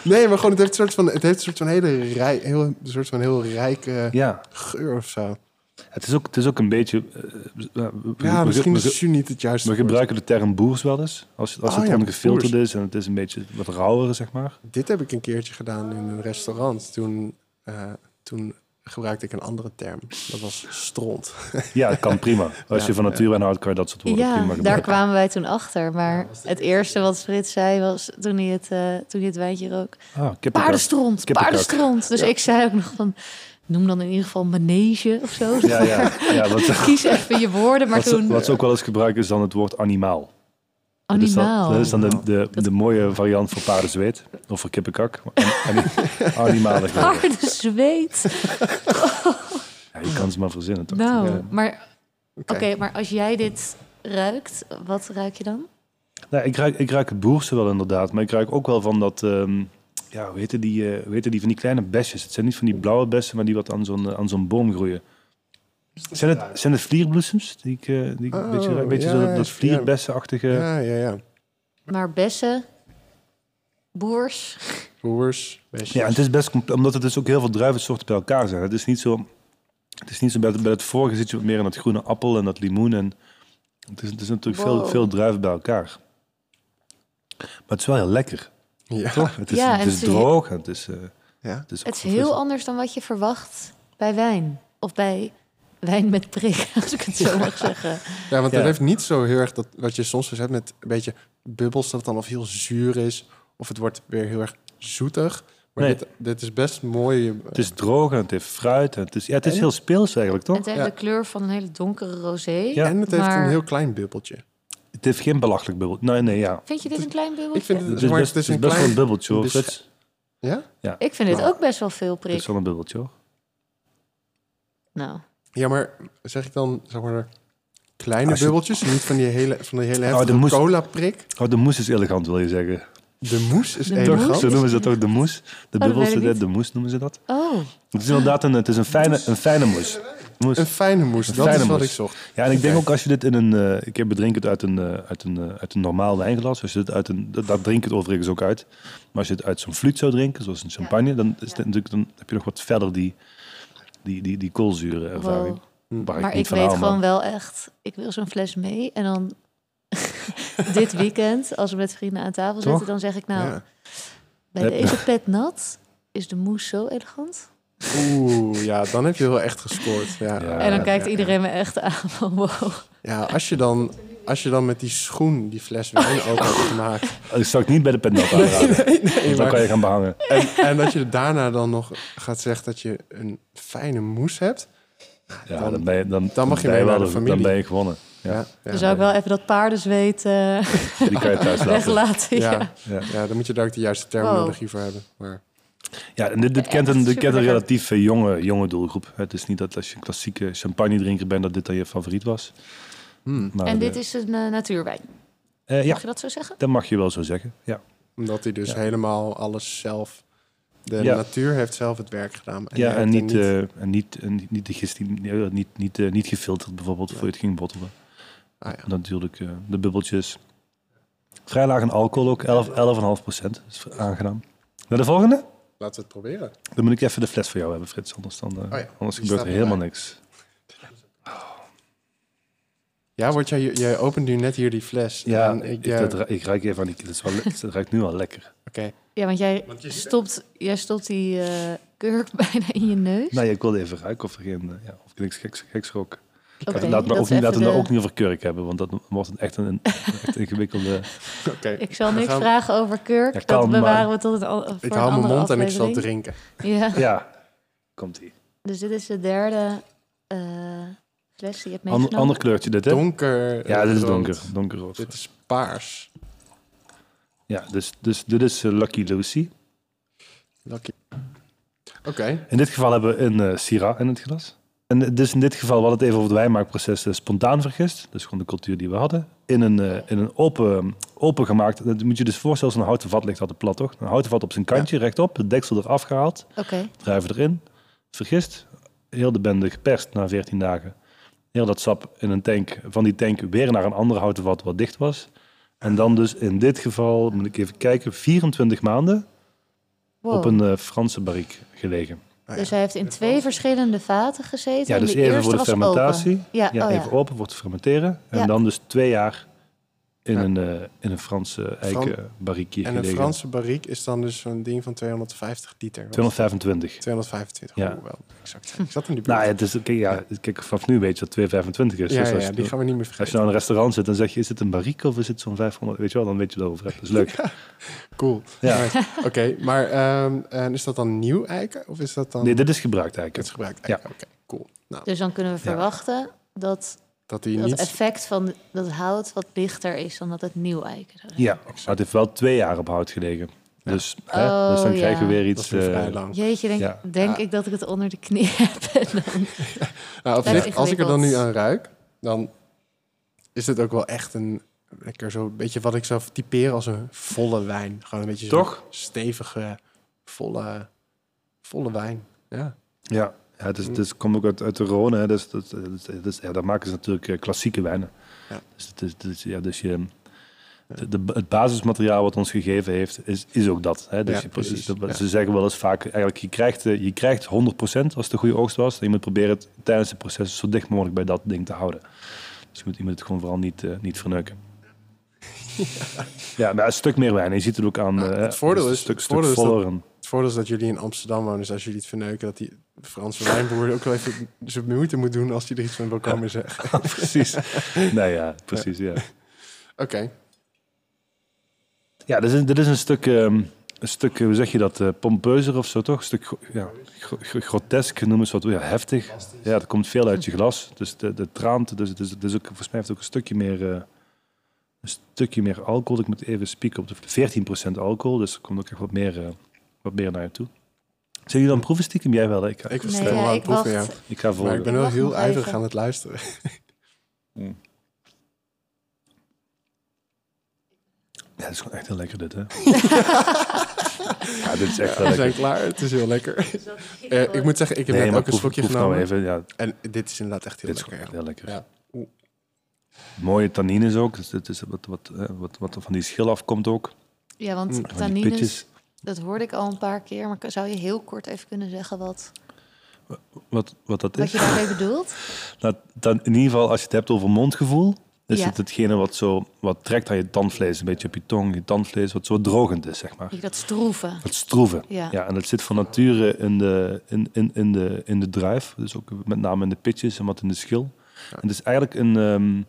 [SPEAKER 1] nee, maar gewoon, het heeft een soort van, het heeft een soort van hele rijk, heel, een soort van heel rijke
[SPEAKER 3] Ja,
[SPEAKER 1] geur of zo.
[SPEAKER 3] het is ook, het is ook een beetje... eh, we- we-
[SPEAKER 1] Ja,
[SPEAKER 3] we-
[SPEAKER 1] misschien
[SPEAKER 3] we-
[SPEAKER 1] is jus niet het juiste
[SPEAKER 3] we
[SPEAKER 1] woord.
[SPEAKER 3] gebruiken de term boers wel eens. Als, als
[SPEAKER 1] Ah,
[SPEAKER 3] het
[SPEAKER 1] ja,
[SPEAKER 3] ongefilterd is en het is een beetje wat rauwer, zeg maar.
[SPEAKER 1] Dit heb ik een keertje gedaan in een restaurant. Toen, eh, toen gebruikte ik een andere term. Dat was stront.
[SPEAKER 3] Ja, het kan prima. Als
[SPEAKER 1] Ja,
[SPEAKER 3] je van natuur en houdt, kan je dat soort woorden prima
[SPEAKER 2] Ja,
[SPEAKER 3] gebruiken.
[SPEAKER 2] daar kwamen wij toen achter. Maar het eerste wat Frits zei was toen hij het, eh, toen hij het wijntje rook.
[SPEAKER 3] Ah, kippenkak.
[SPEAKER 2] Paardenstront,
[SPEAKER 3] Kippenkak.
[SPEAKER 2] paardenstront. Dus ik zei ook nog van, noem dan in ieder geval manege of zo.
[SPEAKER 3] Ja, ja. ja wat,
[SPEAKER 2] Kies even je woorden, maar
[SPEAKER 3] wat, ze,
[SPEAKER 2] toen
[SPEAKER 3] wat ze ook wel eens gebruiken is dan het woord animaal.
[SPEAKER 2] animaal.
[SPEAKER 3] Dat is dan, dat is dan de, de, de mooie variant voor paardenzweet of voor kippenkak. An- ani- Animale
[SPEAKER 2] Ah.
[SPEAKER 3] geur.
[SPEAKER 2] Paardenzweet.
[SPEAKER 3] Ja, je kan ze maar verzinnen toch?
[SPEAKER 2] Nou,
[SPEAKER 1] Ja.
[SPEAKER 2] maar oké,
[SPEAKER 1] Oké.
[SPEAKER 2] maar als jij dit ruikt, wat ruik je dan?
[SPEAKER 3] Nou, ik, ruik, ik ruik het boerse wel inderdaad, maar ik ruik ook wel van dat... ehm, ja, hoe heten, die, eh, hoe heten die van die kleine besjes? Het zijn niet van die blauwe bessen, maar die wat aan zo'n eh, aan zo'n boom groeien. Zijn het, zijn het vlierbloesems? Die ik, eh, die ik een beetje,
[SPEAKER 1] Oh,
[SPEAKER 3] ruik? Weet je, zo
[SPEAKER 1] ja,
[SPEAKER 3] dat, dat
[SPEAKER 1] ja.
[SPEAKER 3] vlierbessenachtige...
[SPEAKER 1] Ja, ja, ja.
[SPEAKER 2] Maar bessen, boers.
[SPEAKER 1] Boers, besjes.
[SPEAKER 3] Ja, het is best complex, omdat het dus ook heel veel druivensoorten bij elkaar zijn. Het is niet zo, het is niet zo bij, het, bij het vorige zit je wat meer in dat groene appel en dat limoen. En het, is, het is natuurlijk veel,
[SPEAKER 2] Wow.
[SPEAKER 3] veel druiven bij elkaar. Maar het is wel heel lekker.
[SPEAKER 1] Ja.
[SPEAKER 3] Het is,
[SPEAKER 2] Ja, en
[SPEAKER 3] het is
[SPEAKER 2] het is-
[SPEAKER 3] droog. en Het is, eh,
[SPEAKER 1] Ja.
[SPEAKER 3] het is, ook
[SPEAKER 2] Het is
[SPEAKER 3] verfrissend.
[SPEAKER 2] heel anders dan wat je verwacht bij wijn. Of bij wijn met prik, als ik het zo mag zeggen.
[SPEAKER 1] ja, want
[SPEAKER 3] Ja.
[SPEAKER 1] het heeft niet zo heel erg dat wat je soms dus hebt met een beetje bubbels, dat het dan of heel zuur is, of het wordt weer heel erg zoetig. Maar
[SPEAKER 3] Nee.
[SPEAKER 1] dit, dit is best mooi. eh,
[SPEAKER 3] Het is droog en het heeft fruit. En het is, ja, het is
[SPEAKER 1] En-
[SPEAKER 3] heel speels eigenlijk, toch?
[SPEAKER 2] Het heeft
[SPEAKER 1] Ja.
[SPEAKER 2] de kleur van een hele donkere rosé.
[SPEAKER 3] ja,
[SPEAKER 1] en het heeft
[SPEAKER 2] maar-
[SPEAKER 1] een heel klein bubbeltje.
[SPEAKER 3] Het heeft geen belachelijk bubbel. Nee, nee, ja.
[SPEAKER 2] Vind je dit een klein bubbeltje?
[SPEAKER 1] Ik vind het,
[SPEAKER 3] Het is
[SPEAKER 1] maar
[SPEAKER 3] best,
[SPEAKER 1] het is
[SPEAKER 3] het
[SPEAKER 1] een
[SPEAKER 3] is best
[SPEAKER 1] klein...
[SPEAKER 3] wel een bubbeltje, hoor.
[SPEAKER 1] dus-
[SPEAKER 3] Frits.
[SPEAKER 1] ja?
[SPEAKER 2] Ik vind dit
[SPEAKER 1] Nou.
[SPEAKER 2] ook best wel veel
[SPEAKER 3] Het
[SPEAKER 2] prik.
[SPEAKER 3] is wel een bubbeltje, hoor.
[SPEAKER 2] Nou,
[SPEAKER 1] Ja, maar zeg ik dan, zeg maar, kleine
[SPEAKER 3] Als je-
[SPEAKER 1] bubbeltjes? Niet van die hele, van die hele
[SPEAKER 3] Oh,
[SPEAKER 1] heftige
[SPEAKER 3] dan moest-
[SPEAKER 1] cola-prik?
[SPEAKER 3] Oh, de moes is elegant, wil je zeggen.
[SPEAKER 1] De moes is
[SPEAKER 2] De
[SPEAKER 1] één
[SPEAKER 3] Toch,
[SPEAKER 2] moes? Oh,
[SPEAKER 3] zo noemen ze dat ook, de moes. De
[SPEAKER 2] dat weet
[SPEAKER 3] bubbels,
[SPEAKER 2] ik
[SPEAKER 3] de,
[SPEAKER 2] niet.
[SPEAKER 3] de moes noemen ze dat.
[SPEAKER 2] Oh,
[SPEAKER 3] Het is inderdaad een, het is een, fijne, een fijne moes. moes.
[SPEAKER 1] Een fijne moes, dat
[SPEAKER 3] fijne
[SPEAKER 1] is wat
[SPEAKER 3] moes.
[SPEAKER 1] ik zocht.
[SPEAKER 3] Ja, en ik denk
[SPEAKER 1] Oké.
[SPEAKER 3] ook als je dit in een... eh, ik bedrink het uit een, eh, uit, een, eh, uit een normaal wijnglas. Als je dit uit een, dat, dat drink ik het overigens ook uit. Maar als je het uit zo'n fluit zou drinken, zoals een champagne... Dan, is het natuurlijk, dan heb je nog wat verder die, die, die, die koolzuren ervaring.
[SPEAKER 2] wow.
[SPEAKER 3] Waar
[SPEAKER 2] Maar
[SPEAKER 3] niet
[SPEAKER 2] ik
[SPEAKER 3] van
[SPEAKER 2] weet
[SPEAKER 3] hou, maar-
[SPEAKER 2] gewoon wel echt, ik wil zo'n fles mee. En dan dit weekend, als we met vrienden aan tafel zitten,
[SPEAKER 3] Toch?
[SPEAKER 2] dan zeg ik nou,
[SPEAKER 1] Ja.
[SPEAKER 2] bij
[SPEAKER 3] Heb-
[SPEAKER 2] deze pet nat is de moes zo elegant.
[SPEAKER 1] Oeh, ja, dan heb je wel echt gescoord. Ja,
[SPEAKER 3] Ja.
[SPEAKER 1] ja.
[SPEAKER 2] en dan kijkt
[SPEAKER 1] ja,
[SPEAKER 2] iedereen me echt aan van wow.
[SPEAKER 1] als, je dan, als je dan met die schoen die fles wijn open hebt gemaakt...
[SPEAKER 3] Ik zou ik niet bij de petnat aanraden. want dan
[SPEAKER 1] maar-
[SPEAKER 3] kan je gaan behangen.
[SPEAKER 1] En, en dat je daarna dan nog gaat zeggen dat je een fijne moes hebt.
[SPEAKER 3] Ja, dan,
[SPEAKER 1] Dan-
[SPEAKER 3] ben je, dan,
[SPEAKER 1] dan mag je
[SPEAKER 3] ben
[SPEAKER 1] mee
[SPEAKER 3] wel
[SPEAKER 1] naar de familie.
[SPEAKER 3] Dan ben je gewonnen. Ja,
[SPEAKER 1] Ja, ja.
[SPEAKER 2] Dan zou ik wel even dat paardenzweet eh,
[SPEAKER 3] Die kan je thuis laten.
[SPEAKER 2] weglaten. Ja.
[SPEAKER 1] Ja, ja. dan moet je daar ook de juiste terminologie voor hebben. Maar
[SPEAKER 3] Ja, en dit, dit kent een,
[SPEAKER 2] Echt
[SPEAKER 3] dit kent een
[SPEAKER 2] superlekker.
[SPEAKER 3] relatief eh, jonge, jonge doelgroep. Het is niet dat als je een klassieke champagne drinker bent, dat dit dan je favoriet was. Maar,
[SPEAKER 2] En dit
[SPEAKER 3] eh,
[SPEAKER 2] is een eh, natuurwijn.
[SPEAKER 3] eh, ja,
[SPEAKER 2] Mag je dat zo zeggen?
[SPEAKER 3] dat mag je wel zo zeggen. Ja,
[SPEAKER 1] omdat hij dus
[SPEAKER 3] Ja.
[SPEAKER 1] helemaal alles zelf... De
[SPEAKER 3] Ja.
[SPEAKER 1] natuur heeft zelf het werk gedaan.
[SPEAKER 3] ja
[SPEAKER 1] jij
[SPEAKER 3] en,
[SPEAKER 1] hebt er
[SPEAKER 3] niet, eh, en, niet, en niet, niet, de gist- niet, eh, niet, niet, eh, niet gefilterd bijvoorbeeld voor je het ging bottelen.
[SPEAKER 1] Ah, ja.
[SPEAKER 3] Natuurlijk eh, de bubbeltjes. Vrij laag in alcohol ook, 11 11,5 procent. Dat is aangenaam. Naar de volgende?
[SPEAKER 1] Laten we het proberen.
[SPEAKER 3] Dan moet ik even de fles voor jou hebben, Frits. Anders, dan, eh,
[SPEAKER 1] Oh ja.
[SPEAKER 3] anders
[SPEAKER 1] Die
[SPEAKER 3] gebeurt er
[SPEAKER 1] staat
[SPEAKER 3] helemaal
[SPEAKER 1] erbij.
[SPEAKER 3] niks.
[SPEAKER 1] Ja, wordt jij, jij opent nu net hier die fles.
[SPEAKER 3] Ja,
[SPEAKER 1] En
[SPEAKER 3] ik,
[SPEAKER 1] ik, eh,
[SPEAKER 3] dat ra- ik ruik even aan die... Het, is wel, le- het ruikt nu al lekker.
[SPEAKER 1] Oké.
[SPEAKER 2] Ja, want jij,
[SPEAKER 1] Want je-
[SPEAKER 2] stopt, jij stopt die eh, kurk bijna in je neus.
[SPEAKER 3] Nou, ja, ik wilde even ruiken of, er geen, eh, ja, of ik niks geks, geks rook.
[SPEAKER 2] Oké,
[SPEAKER 3] Laat- laat me
[SPEAKER 2] dat
[SPEAKER 3] ook
[SPEAKER 2] is
[SPEAKER 3] niet,
[SPEAKER 2] even
[SPEAKER 3] laten we het
[SPEAKER 2] de-
[SPEAKER 3] ook niet over kurk hebben, want dat wordt een echt een, echt ingewikkelde...
[SPEAKER 1] Oké.
[SPEAKER 2] Ik zal
[SPEAKER 1] We
[SPEAKER 2] niks
[SPEAKER 1] gaan-
[SPEAKER 2] vragen over kurk.
[SPEAKER 3] Ja,
[SPEAKER 2] dat
[SPEAKER 3] kan,
[SPEAKER 2] bewaren
[SPEAKER 3] maar-
[SPEAKER 2] we tot het al, voor
[SPEAKER 1] Ik
[SPEAKER 2] een
[SPEAKER 1] hou mijn
[SPEAKER 2] andere
[SPEAKER 1] mond en ik zal
[SPEAKER 2] aflevering.
[SPEAKER 1] drinken.
[SPEAKER 2] Ja.
[SPEAKER 3] Ja, komt ie.
[SPEAKER 2] Dus dit is de derde eh, fles die je hebt meegenomen.
[SPEAKER 3] Ander, ander kleurtje dit, hè?
[SPEAKER 1] Donker.
[SPEAKER 3] Ja, dit is
[SPEAKER 1] rood.
[SPEAKER 3] donker. Donkerrood.
[SPEAKER 1] Dit is paars.
[SPEAKER 3] Ja, dus, dus dit is eh, Lucky Lucy.
[SPEAKER 1] Lucky. Oké.
[SPEAKER 3] In dit geval hebben we een eh Syrah in het glas. En eh, dus in dit geval, we hadden het even over het wijnmaakproces eh, spontaan vergist. Dus gewoon de cultuur die we hadden. In een, eh, in een open, open gemaakt. Dat moet je dus voorstellen, zo'n houten vat ligt altijd plat, toch? Een houten vat op zijn kantje, rechtop. Het deksel eraf gehaald.
[SPEAKER 2] Oké,
[SPEAKER 3] druiven erin, vergist. Heel de bende geperst na 14 dagen. Heel dat sap in een tank, van die tank weer naar een andere houten vat wat dicht was. En dan dus in dit geval, moet ik even kijken, 24 maanden
[SPEAKER 2] wow.
[SPEAKER 3] op een eh, Franse bariek gelegen.
[SPEAKER 1] Ah,
[SPEAKER 2] Dus hij heeft in twee verschillende vaten gezeten.
[SPEAKER 3] Ja,
[SPEAKER 2] en
[SPEAKER 3] dus
[SPEAKER 2] de
[SPEAKER 3] even
[SPEAKER 2] eerste
[SPEAKER 3] voor de
[SPEAKER 2] was
[SPEAKER 3] fermentatie.
[SPEAKER 2] open. Ja,
[SPEAKER 3] Ja,
[SPEAKER 2] oh ja.
[SPEAKER 3] even open wordt te fermenteren. En
[SPEAKER 2] Ja.
[SPEAKER 3] dan dus twee jaar in,
[SPEAKER 1] Ja.
[SPEAKER 3] een, eh, in een Franse eikenbariekje
[SPEAKER 1] En een
[SPEAKER 3] gelegen.
[SPEAKER 1] Franse bariek is dan dus zo'n ding van 250 liter. wat?
[SPEAKER 3] 225.
[SPEAKER 1] 225.
[SPEAKER 3] Ja.
[SPEAKER 1] Ja. wel exact. Ik zat in die buurt.
[SPEAKER 3] Nou ja, het is, kijk, ja, kijk, vanaf nu weet je dat 225 is.
[SPEAKER 1] ja,
[SPEAKER 3] Dus
[SPEAKER 1] ja,
[SPEAKER 3] als
[SPEAKER 1] ja,
[SPEAKER 3] je-
[SPEAKER 1] die gaan we niet meer
[SPEAKER 3] Als je
[SPEAKER 1] vergeten.
[SPEAKER 3] nou in een restaurant zit, dan zeg je, is het een barrique of is het zo'n 500? Weet je wel, dan weet je het over hebt. Dat is leuk.
[SPEAKER 1] Cool.
[SPEAKER 3] Ja.
[SPEAKER 1] Nice. Oké, maar ehm, en is dat dan nieuw eiken? Of is dat dan...
[SPEAKER 3] Nee, dit is gebruikt
[SPEAKER 1] Het is
[SPEAKER 3] eigenlijk.
[SPEAKER 1] gebruikt
[SPEAKER 3] Ja.
[SPEAKER 1] eiken. Oké, cool. Nou,
[SPEAKER 2] Dus dan kunnen we
[SPEAKER 3] Ja.
[SPEAKER 2] verwachten dat
[SPEAKER 1] dat die
[SPEAKER 2] dat
[SPEAKER 1] niet...
[SPEAKER 2] effect van dat hout wat lichter is dan dat het nieuw eiken zou zijn.
[SPEAKER 3] Ja, maar het heeft wel twee jaar op hout gelegen.
[SPEAKER 1] Ja.
[SPEAKER 3] Dus, hè,
[SPEAKER 2] Oh,
[SPEAKER 3] dus dan
[SPEAKER 2] ja.
[SPEAKER 3] krijg je weer
[SPEAKER 1] Dat is
[SPEAKER 3] iets...
[SPEAKER 1] weer
[SPEAKER 3] eh,
[SPEAKER 1] vrij lang.
[SPEAKER 2] Jeetje, denk,
[SPEAKER 3] Ja.
[SPEAKER 2] denk
[SPEAKER 1] Ja.
[SPEAKER 2] ik dat ik het onder de knie heb. En dan-
[SPEAKER 1] Nou, op
[SPEAKER 2] Dat
[SPEAKER 1] zich,
[SPEAKER 2] is
[SPEAKER 1] als ik er dan nu aan
[SPEAKER 2] ingewikkeld.
[SPEAKER 1] ruik, dan is het ook wel echt een lekker zo een beetje wat ik zou typeren als een volle wijn. Gewoon een beetje zo'n
[SPEAKER 3] Toch?
[SPEAKER 1] stevige, volle, volle wijn. Ja.
[SPEAKER 3] ja, ja het, is, het is- komt ook uit, uit de Rhône. Hè, dus, dat, dat, dat, ja, daar maken ze natuurlijk eh, klassieke wijnen.
[SPEAKER 1] Ja.
[SPEAKER 3] Dus, het is- dus, ja, dus je... de- de- het basismateriaal wat ons gegeven heeft, is, is ook dat. Hè? Dus
[SPEAKER 1] Ja,
[SPEAKER 3] je-
[SPEAKER 1] precies.
[SPEAKER 3] dat-
[SPEAKER 1] Ja.
[SPEAKER 3] Ze zeggen wel eens vaak, eigenlijk, je krijgt, eh, je krijgt 100% als het een goede oogst was. En je moet proberen het tijdens het proces zo dicht mogelijk bij dat ding te houden. Dus je moet, je moet het gewoon vooral niet, eh, niet verneuken. Ja. maar een stuk meer wijn. Je ziet het ook aan...
[SPEAKER 1] Ja,
[SPEAKER 3] eh,
[SPEAKER 1] het voordeel
[SPEAKER 3] een
[SPEAKER 1] is-
[SPEAKER 3] stuk,
[SPEAKER 1] het
[SPEAKER 3] stuk
[SPEAKER 1] voordeel is dat-
[SPEAKER 3] voller en-
[SPEAKER 1] Het voordeel is dat jullie in Amsterdam wonen, dus als jullie het verneuken, dat die Franse wijnboer ook wel even zijn moeite moet doen als hij er iets van wil komen zeggen.
[SPEAKER 3] precies. nou ja, precies, ja.
[SPEAKER 1] Oké,
[SPEAKER 3] Ja, dit is, dit is een stuk, ehm, een stuk, eh, hoe zeg je dat, eh, pompeuzer of zo toch? Een stuk gro- ja, gro- gro- grotesk, noemen ze dat, ja, heftig. Ja, er komt veel uit je glas, dus de, de traant, dus het is, het is ook, volgens mij heeft het ook een stukje meer, eh, een stukje meer alcohol. Ik moet even spieken op de 14% alcohol, dus er komt ook echt wat meer, eh, wat meer naar je toe. Zijn jullie dan proeven stiekem? Jij wel, hè? ik, ga-
[SPEAKER 1] ik was
[SPEAKER 2] Nee,
[SPEAKER 1] helemaal
[SPEAKER 2] ja,
[SPEAKER 1] aan
[SPEAKER 2] ik
[SPEAKER 1] het proeven, ja.
[SPEAKER 2] wacht.
[SPEAKER 3] ik ga
[SPEAKER 1] Maar
[SPEAKER 3] volgen.
[SPEAKER 1] ik ben wel
[SPEAKER 2] Wacht nog
[SPEAKER 1] heel ijverig
[SPEAKER 2] even.
[SPEAKER 1] aan het luisteren.
[SPEAKER 3] Mm. Ja, het is gewoon echt heel lekker dit, hè? ja, dit is echt wel
[SPEAKER 1] We
[SPEAKER 3] lekker.
[SPEAKER 1] zijn klaar, het is heel lekker. Eh, ik moet zeggen, ik heb net ook
[SPEAKER 3] maar
[SPEAKER 1] een
[SPEAKER 3] proef-
[SPEAKER 1] slokje
[SPEAKER 3] proef nou
[SPEAKER 1] genomen.
[SPEAKER 3] even, ja,
[SPEAKER 1] En dit is inderdaad echt heel
[SPEAKER 3] dit is
[SPEAKER 1] lekker.
[SPEAKER 3] gewoon echt heel lekker.
[SPEAKER 1] Ja. Oeh.
[SPEAKER 3] Mooie tannines ook. Dus dit is wat, wat, eh, wat, wat er van die schil afkomt ook.
[SPEAKER 2] Ja,
[SPEAKER 1] Mm.
[SPEAKER 2] want
[SPEAKER 3] Van die pitjes.
[SPEAKER 2] tannines, dat hoorde ik al een paar keer. Maar zou je heel kort even kunnen zeggen wat,
[SPEAKER 3] Wat, wat dat
[SPEAKER 2] wat
[SPEAKER 3] is.
[SPEAKER 2] je daarmee bedoelt?
[SPEAKER 3] Dat, dan, in ieder geval, als je het hebt over mondgevoel, is
[SPEAKER 2] Ja.
[SPEAKER 3] het hetgene wat, zo, wat trekt aan je tandvlees. Een beetje op je tong, je tandvlees, wat zo drogend is, zeg maar.
[SPEAKER 2] Ik dat stroeven.
[SPEAKER 3] Het stroeven.
[SPEAKER 2] Ja.
[SPEAKER 3] en dat zit van nature in de, in, in, in de, in de druif. Dus ook met name in de pitjes en wat in de schil. En het is eigenlijk een... ehm,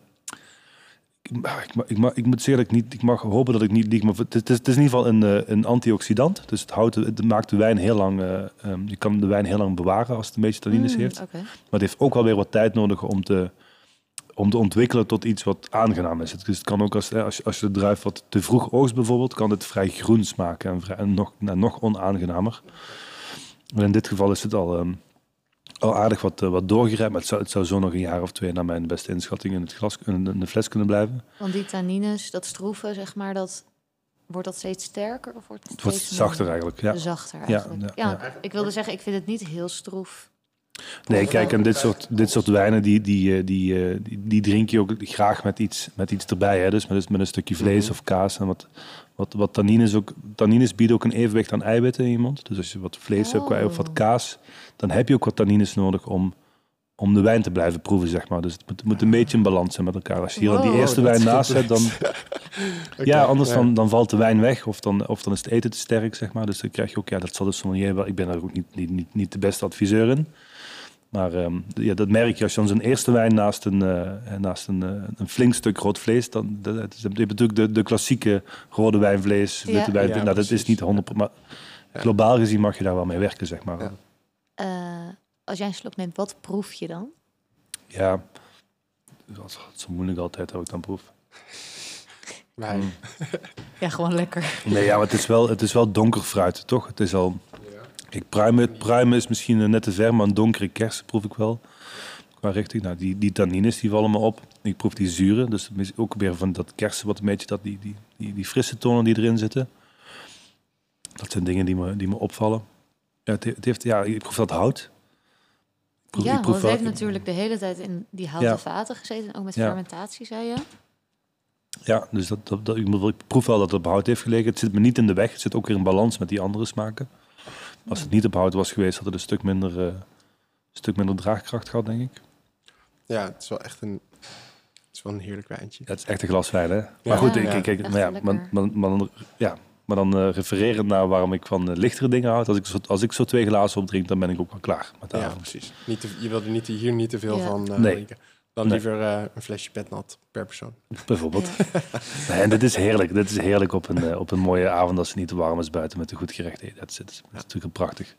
[SPEAKER 3] ik, ma- ik, ma- ik, ma- ik moet zeggen dat ik niet... Ik mag hopen dat ik niet lieg, maar het is, het is in ieder geval een, eh, een antioxidant. Dus het, houdt, het maakt de wijn heel lang... eh, ehm, je kan de wijn heel lang bewaren als het een beetje tannines
[SPEAKER 2] Mm,
[SPEAKER 3] heeft.
[SPEAKER 2] oké.
[SPEAKER 3] Maar het heeft ook wel weer wat tijd nodig om te, om te ontwikkelen tot iets wat aangenaam is. Het- Dus het kan ook als, hè, als, je- als je de druif wat te vroeg oogst bijvoorbeeld, kan het vrij groen smaken en, vrij, en nog, nou, nog onaangenamer. Maar in dit geval is het al, ehm, al aardig wat, eh, wat doorgerijpt. Maar het zou, het zou zo nog een jaar of twee naar mijn beste inschatting in, het glas, in, in de fles kunnen blijven.
[SPEAKER 2] Want die tannines, dat stroeven, zeg maar, dat, wordt dat steeds sterker? Of wordt het,
[SPEAKER 3] Het wordt
[SPEAKER 2] steeds
[SPEAKER 3] zachter
[SPEAKER 2] minder?
[SPEAKER 3] eigenlijk. Ja.
[SPEAKER 2] Zachter eigenlijk. Ja,
[SPEAKER 3] ja,
[SPEAKER 2] ik wilde zeggen, ik vind het niet heel stroef.
[SPEAKER 3] Nee, kijk, en dit soort, dit soort wijnen, die, die, eh, die, eh, die, die drink je ook graag met iets, met iets erbij. Hè? Dus met, met een stukje vlees
[SPEAKER 1] Mhm.
[SPEAKER 3] of kaas. En wat, wat, wat tannines ook... Tannines bieden ook een evenwicht aan eiwitten in iemand. Dus als je wat vlees hebt
[SPEAKER 1] Ah.
[SPEAKER 3] qua- of wat
[SPEAKER 2] Oh.
[SPEAKER 3] kaas, dan heb je ook wat tannines nodig om, om de wijn te blijven proeven, zeg maar. Dus het moet, moet een beetje een balans zijn met elkaar. Als je hier al die
[SPEAKER 2] Wow.
[SPEAKER 3] eerste
[SPEAKER 1] Dat
[SPEAKER 3] wijn
[SPEAKER 1] is
[SPEAKER 3] naast zet, dan... Ja,
[SPEAKER 1] Oké,
[SPEAKER 3] anders
[SPEAKER 1] ja.
[SPEAKER 3] Dan, dan valt de wijn weg of dan, of dan is het eten te sterk, zeg maar. Dus dan krijg je ook, ja, dat zal de sommelier wel... Ik ben daar ook niet, niet, niet, niet de beste adviseur in. Maar ehm, ja, dat merk je als je dan zo'n eerste wijn naast een, eh, naast een, eh, een flink stuk rood vlees... Dan, dat, dat is- je hebt natuurlijk de, de klassieke rode wijnvlees,
[SPEAKER 2] Ja.
[SPEAKER 3] witte wijn.
[SPEAKER 1] Ja,
[SPEAKER 3] nou, dat is
[SPEAKER 1] precies.
[SPEAKER 3] niet 100%. Maar
[SPEAKER 1] Ja.
[SPEAKER 3] globaal gezien mag je daar wel mee werken, zeg maar.
[SPEAKER 1] Ja.
[SPEAKER 3] Ja,
[SPEAKER 2] Eh, als jij een slok neemt, wat proef je dan?
[SPEAKER 3] dat is zo moeilijk altijd, ook dan proef.
[SPEAKER 1] Wijn.
[SPEAKER 3] Mm.
[SPEAKER 2] Ja, gewoon lekker.
[SPEAKER 3] Nee, ja, maar het is wel, het is wel donker fruit, toch? Het is al... Kijk, pruimen, pruimen is misschien eh, net te ver, maar een donkere kersen proef ik wel. Qua richting. Nou, die, die tannines die vallen me op. Ik proef die zuren, dus het is ook weer van dat kersen wat een beetje... Dat, die, die, die, die frisse tonen die erin zitten. Dat zijn dingen die me, die me opvallen. Ja, het, he- het heeft, ja, ik proef dat hout. Ik proef-
[SPEAKER 2] ja,
[SPEAKER 3] ik
[SPEAKER 2] want
[SPEAKER 3] proef
[SPEAKER 2] het
[SPEAKER 3] wel-
[SPEAKER 2] heeft
[SPEAKER 3] ik-
[SPEAKER 2] natuurlijk de hele tijd in die houten
[SPEAKER 3] Ja.
[SPEAKER 2] vaten gezeten. Ook met
[SPEAKER 3] Ja.
[SPEAKER 2] fermentatie, zei je.
[SPEAKER 3] Ja, dus dat, dat, dat- ik bedoel, ik proef wel dat het op hout heeft gelegen. Het zit me niet in de weg. Het zit ook weer in balans met die andere smaken. Als het niet op hout was geweest, had het een stuk minder, eh, een stuk minder draagkracht gehad, denk ik.
[SPEAKER 1] Ja, het is wel echt een, het is wel een heerlijk wijntje.
[SPEAKER 3] Ja, het is echt een glas wijn, hè? Maar goed,
[SPEAKER 2] Ja,
[SPEAKER 3] ik, ik, ik-
[SPEAKER 2] echt
[SPEAKER 3] maar, ja,
[SPEAKER 2] lekker.
[SPEAKER 3] maar, maar, maar dan, ja, maar dan eh, refererend naar waarom ik van eh, lichtere dingen houd. Als ik, zo, als ik zo twee glazen opdrink, dan ben ik ook wel klaar met de
[SPEAKER 1] Ja,
[SPEAKER 3] avond.
[SPEAKER 1] precies. Niet te- je wil er niet, te- hier niet te veel
[SPEAKER 2] Ja.
[SPEAKER 1] van eh,
[SPEAKER 3] Nee.
[SPEAKER 1] drinken. Dan
[SPEAKER 3] Nee.
[SPEAKER 1] liever eh, een flesje petnat per persoon.
[SPEAKER 3] Bijvoorbeeld.
[SPEAKER 2] Ja.
[SPEAKER 3] Nee, en dit is heerlijk. Dit is heerlijk op een, eh, op een mooie avond als het niet te warm is buiten met een goed gerecht. Hey, Dat is, dat is natuurlijk prachtig.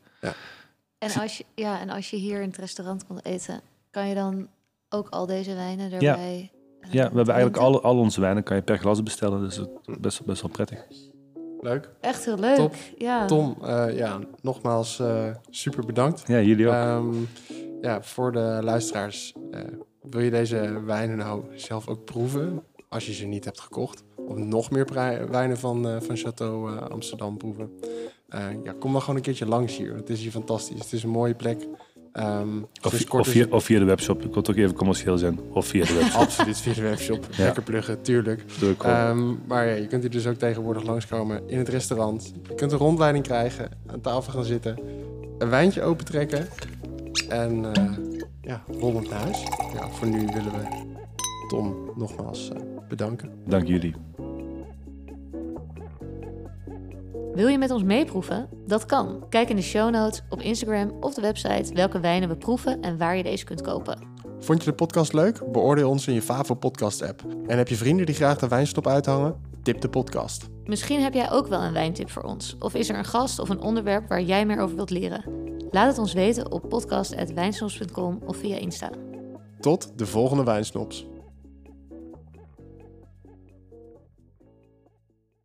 [SPEAKER 2] En als, je, ja, en als je hier in het restaurant komt eten, kan je dan ook al deze wijnen erbij... eh,
[SPEAKER 3] Ja, we hebben eigenlijk
[SPEAKER 2] drinken?
[SPEAKER 3] al, al onze wijnen kan je per glas bestellen, dus het is best, best wel prettig.
[SPEAKER 1] Leuk.
[SPEAKER 2] Echt heel leuk.
[SPEAKER 1] Top.
[SPEAKER 2] Ja.
[SPEAKER 1] Tom, eh, ja, nogmaals eh, super bedankt.
[SPEAKER 3] Ja, jullie ook.
[SPEAKER 1] Ehm, ja, voor de luisteraars. eh, wil je deze wijnen nou zelf ook proeven? Als je ze niet hebt gekocht. Of nog meer pri- wijnen van, eh, van Chateau eh, Amsterdam proeven. Eh, ja, kom dan gewoon een keertje langs hier. Het is hier fantastisch. Het is een mooie plek. Ehm, het is
[SPEAKER 3] of,
[SPEAKER 1] kort
[SPEAKER 3] of, via, of via de webshop. Ik wil toch even commercieel zijn. Of via de webshop.
[SPEAKER 1] Absoluut, via de webshop.
[SPEAKER 3] Ja.
[SPEAKER 1] Lekker pluggen, tuurlijk.
[SPEAKER 3] Doe ik gewoon.
[SPEAKER 1] Ehm, maar ja, je kunt hier dus ook tegenwoordig langskomen in het restaurant. Je kunt een rondleiding krijgen, aan tafel gaan zitten, een wijntje opentrekken en eh ja, rollend naar huis. Ja, voor nu willen we Tom nogmaals eh, bedanken.
[SPEAKER 3] Dank jullie.
[SPEAKER 2] Wil je met ons meeproeven? Dat kan. Kijk in de show notes, op Instagram of de website welke wijnen we proeven en waar je deze kunt kopen.
[SPEAKER 1] Vond je de podcast leuk? Beoordeel ons in je Favo podcast app. En heb je vrienden die graag de wijnstop uithangen? Tip de podcast.
[SPEAKER 2] Misschien heb jij ook wel een wijntip voor ons. Of is er een gast of een onderwerp waar jij meer over wilt leren? Laat het ons weten op podcast.wijnsnops.com of via Insta.
[SPEAKER 1] Tot de volgende wijnsnops.